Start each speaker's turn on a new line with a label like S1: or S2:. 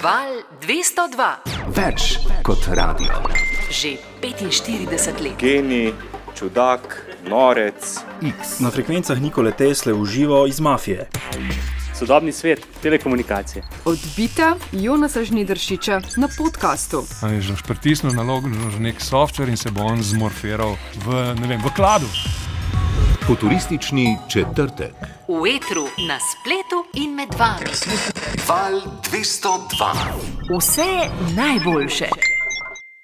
S1: Val 202,
S2: Več kot radio.
S1: že 45 let.
S3: genij, čudak, norec.
S2: X
S4: Na frekvencah Nikole Tesle uživo iz mafije.
S5: Sodobni svet, telekomunikacije.
S6: Odbita Jonasa Žnidaršiča na podkastu.
S7: A je že pritisnil nalog na nek softver in se bo on zmorfiral v, ne vem, v kladu.
S2: futuristični četrtek.
S1: V etru, na spletu in med vami.
S2: Val 202.
S1: Vse najboljše.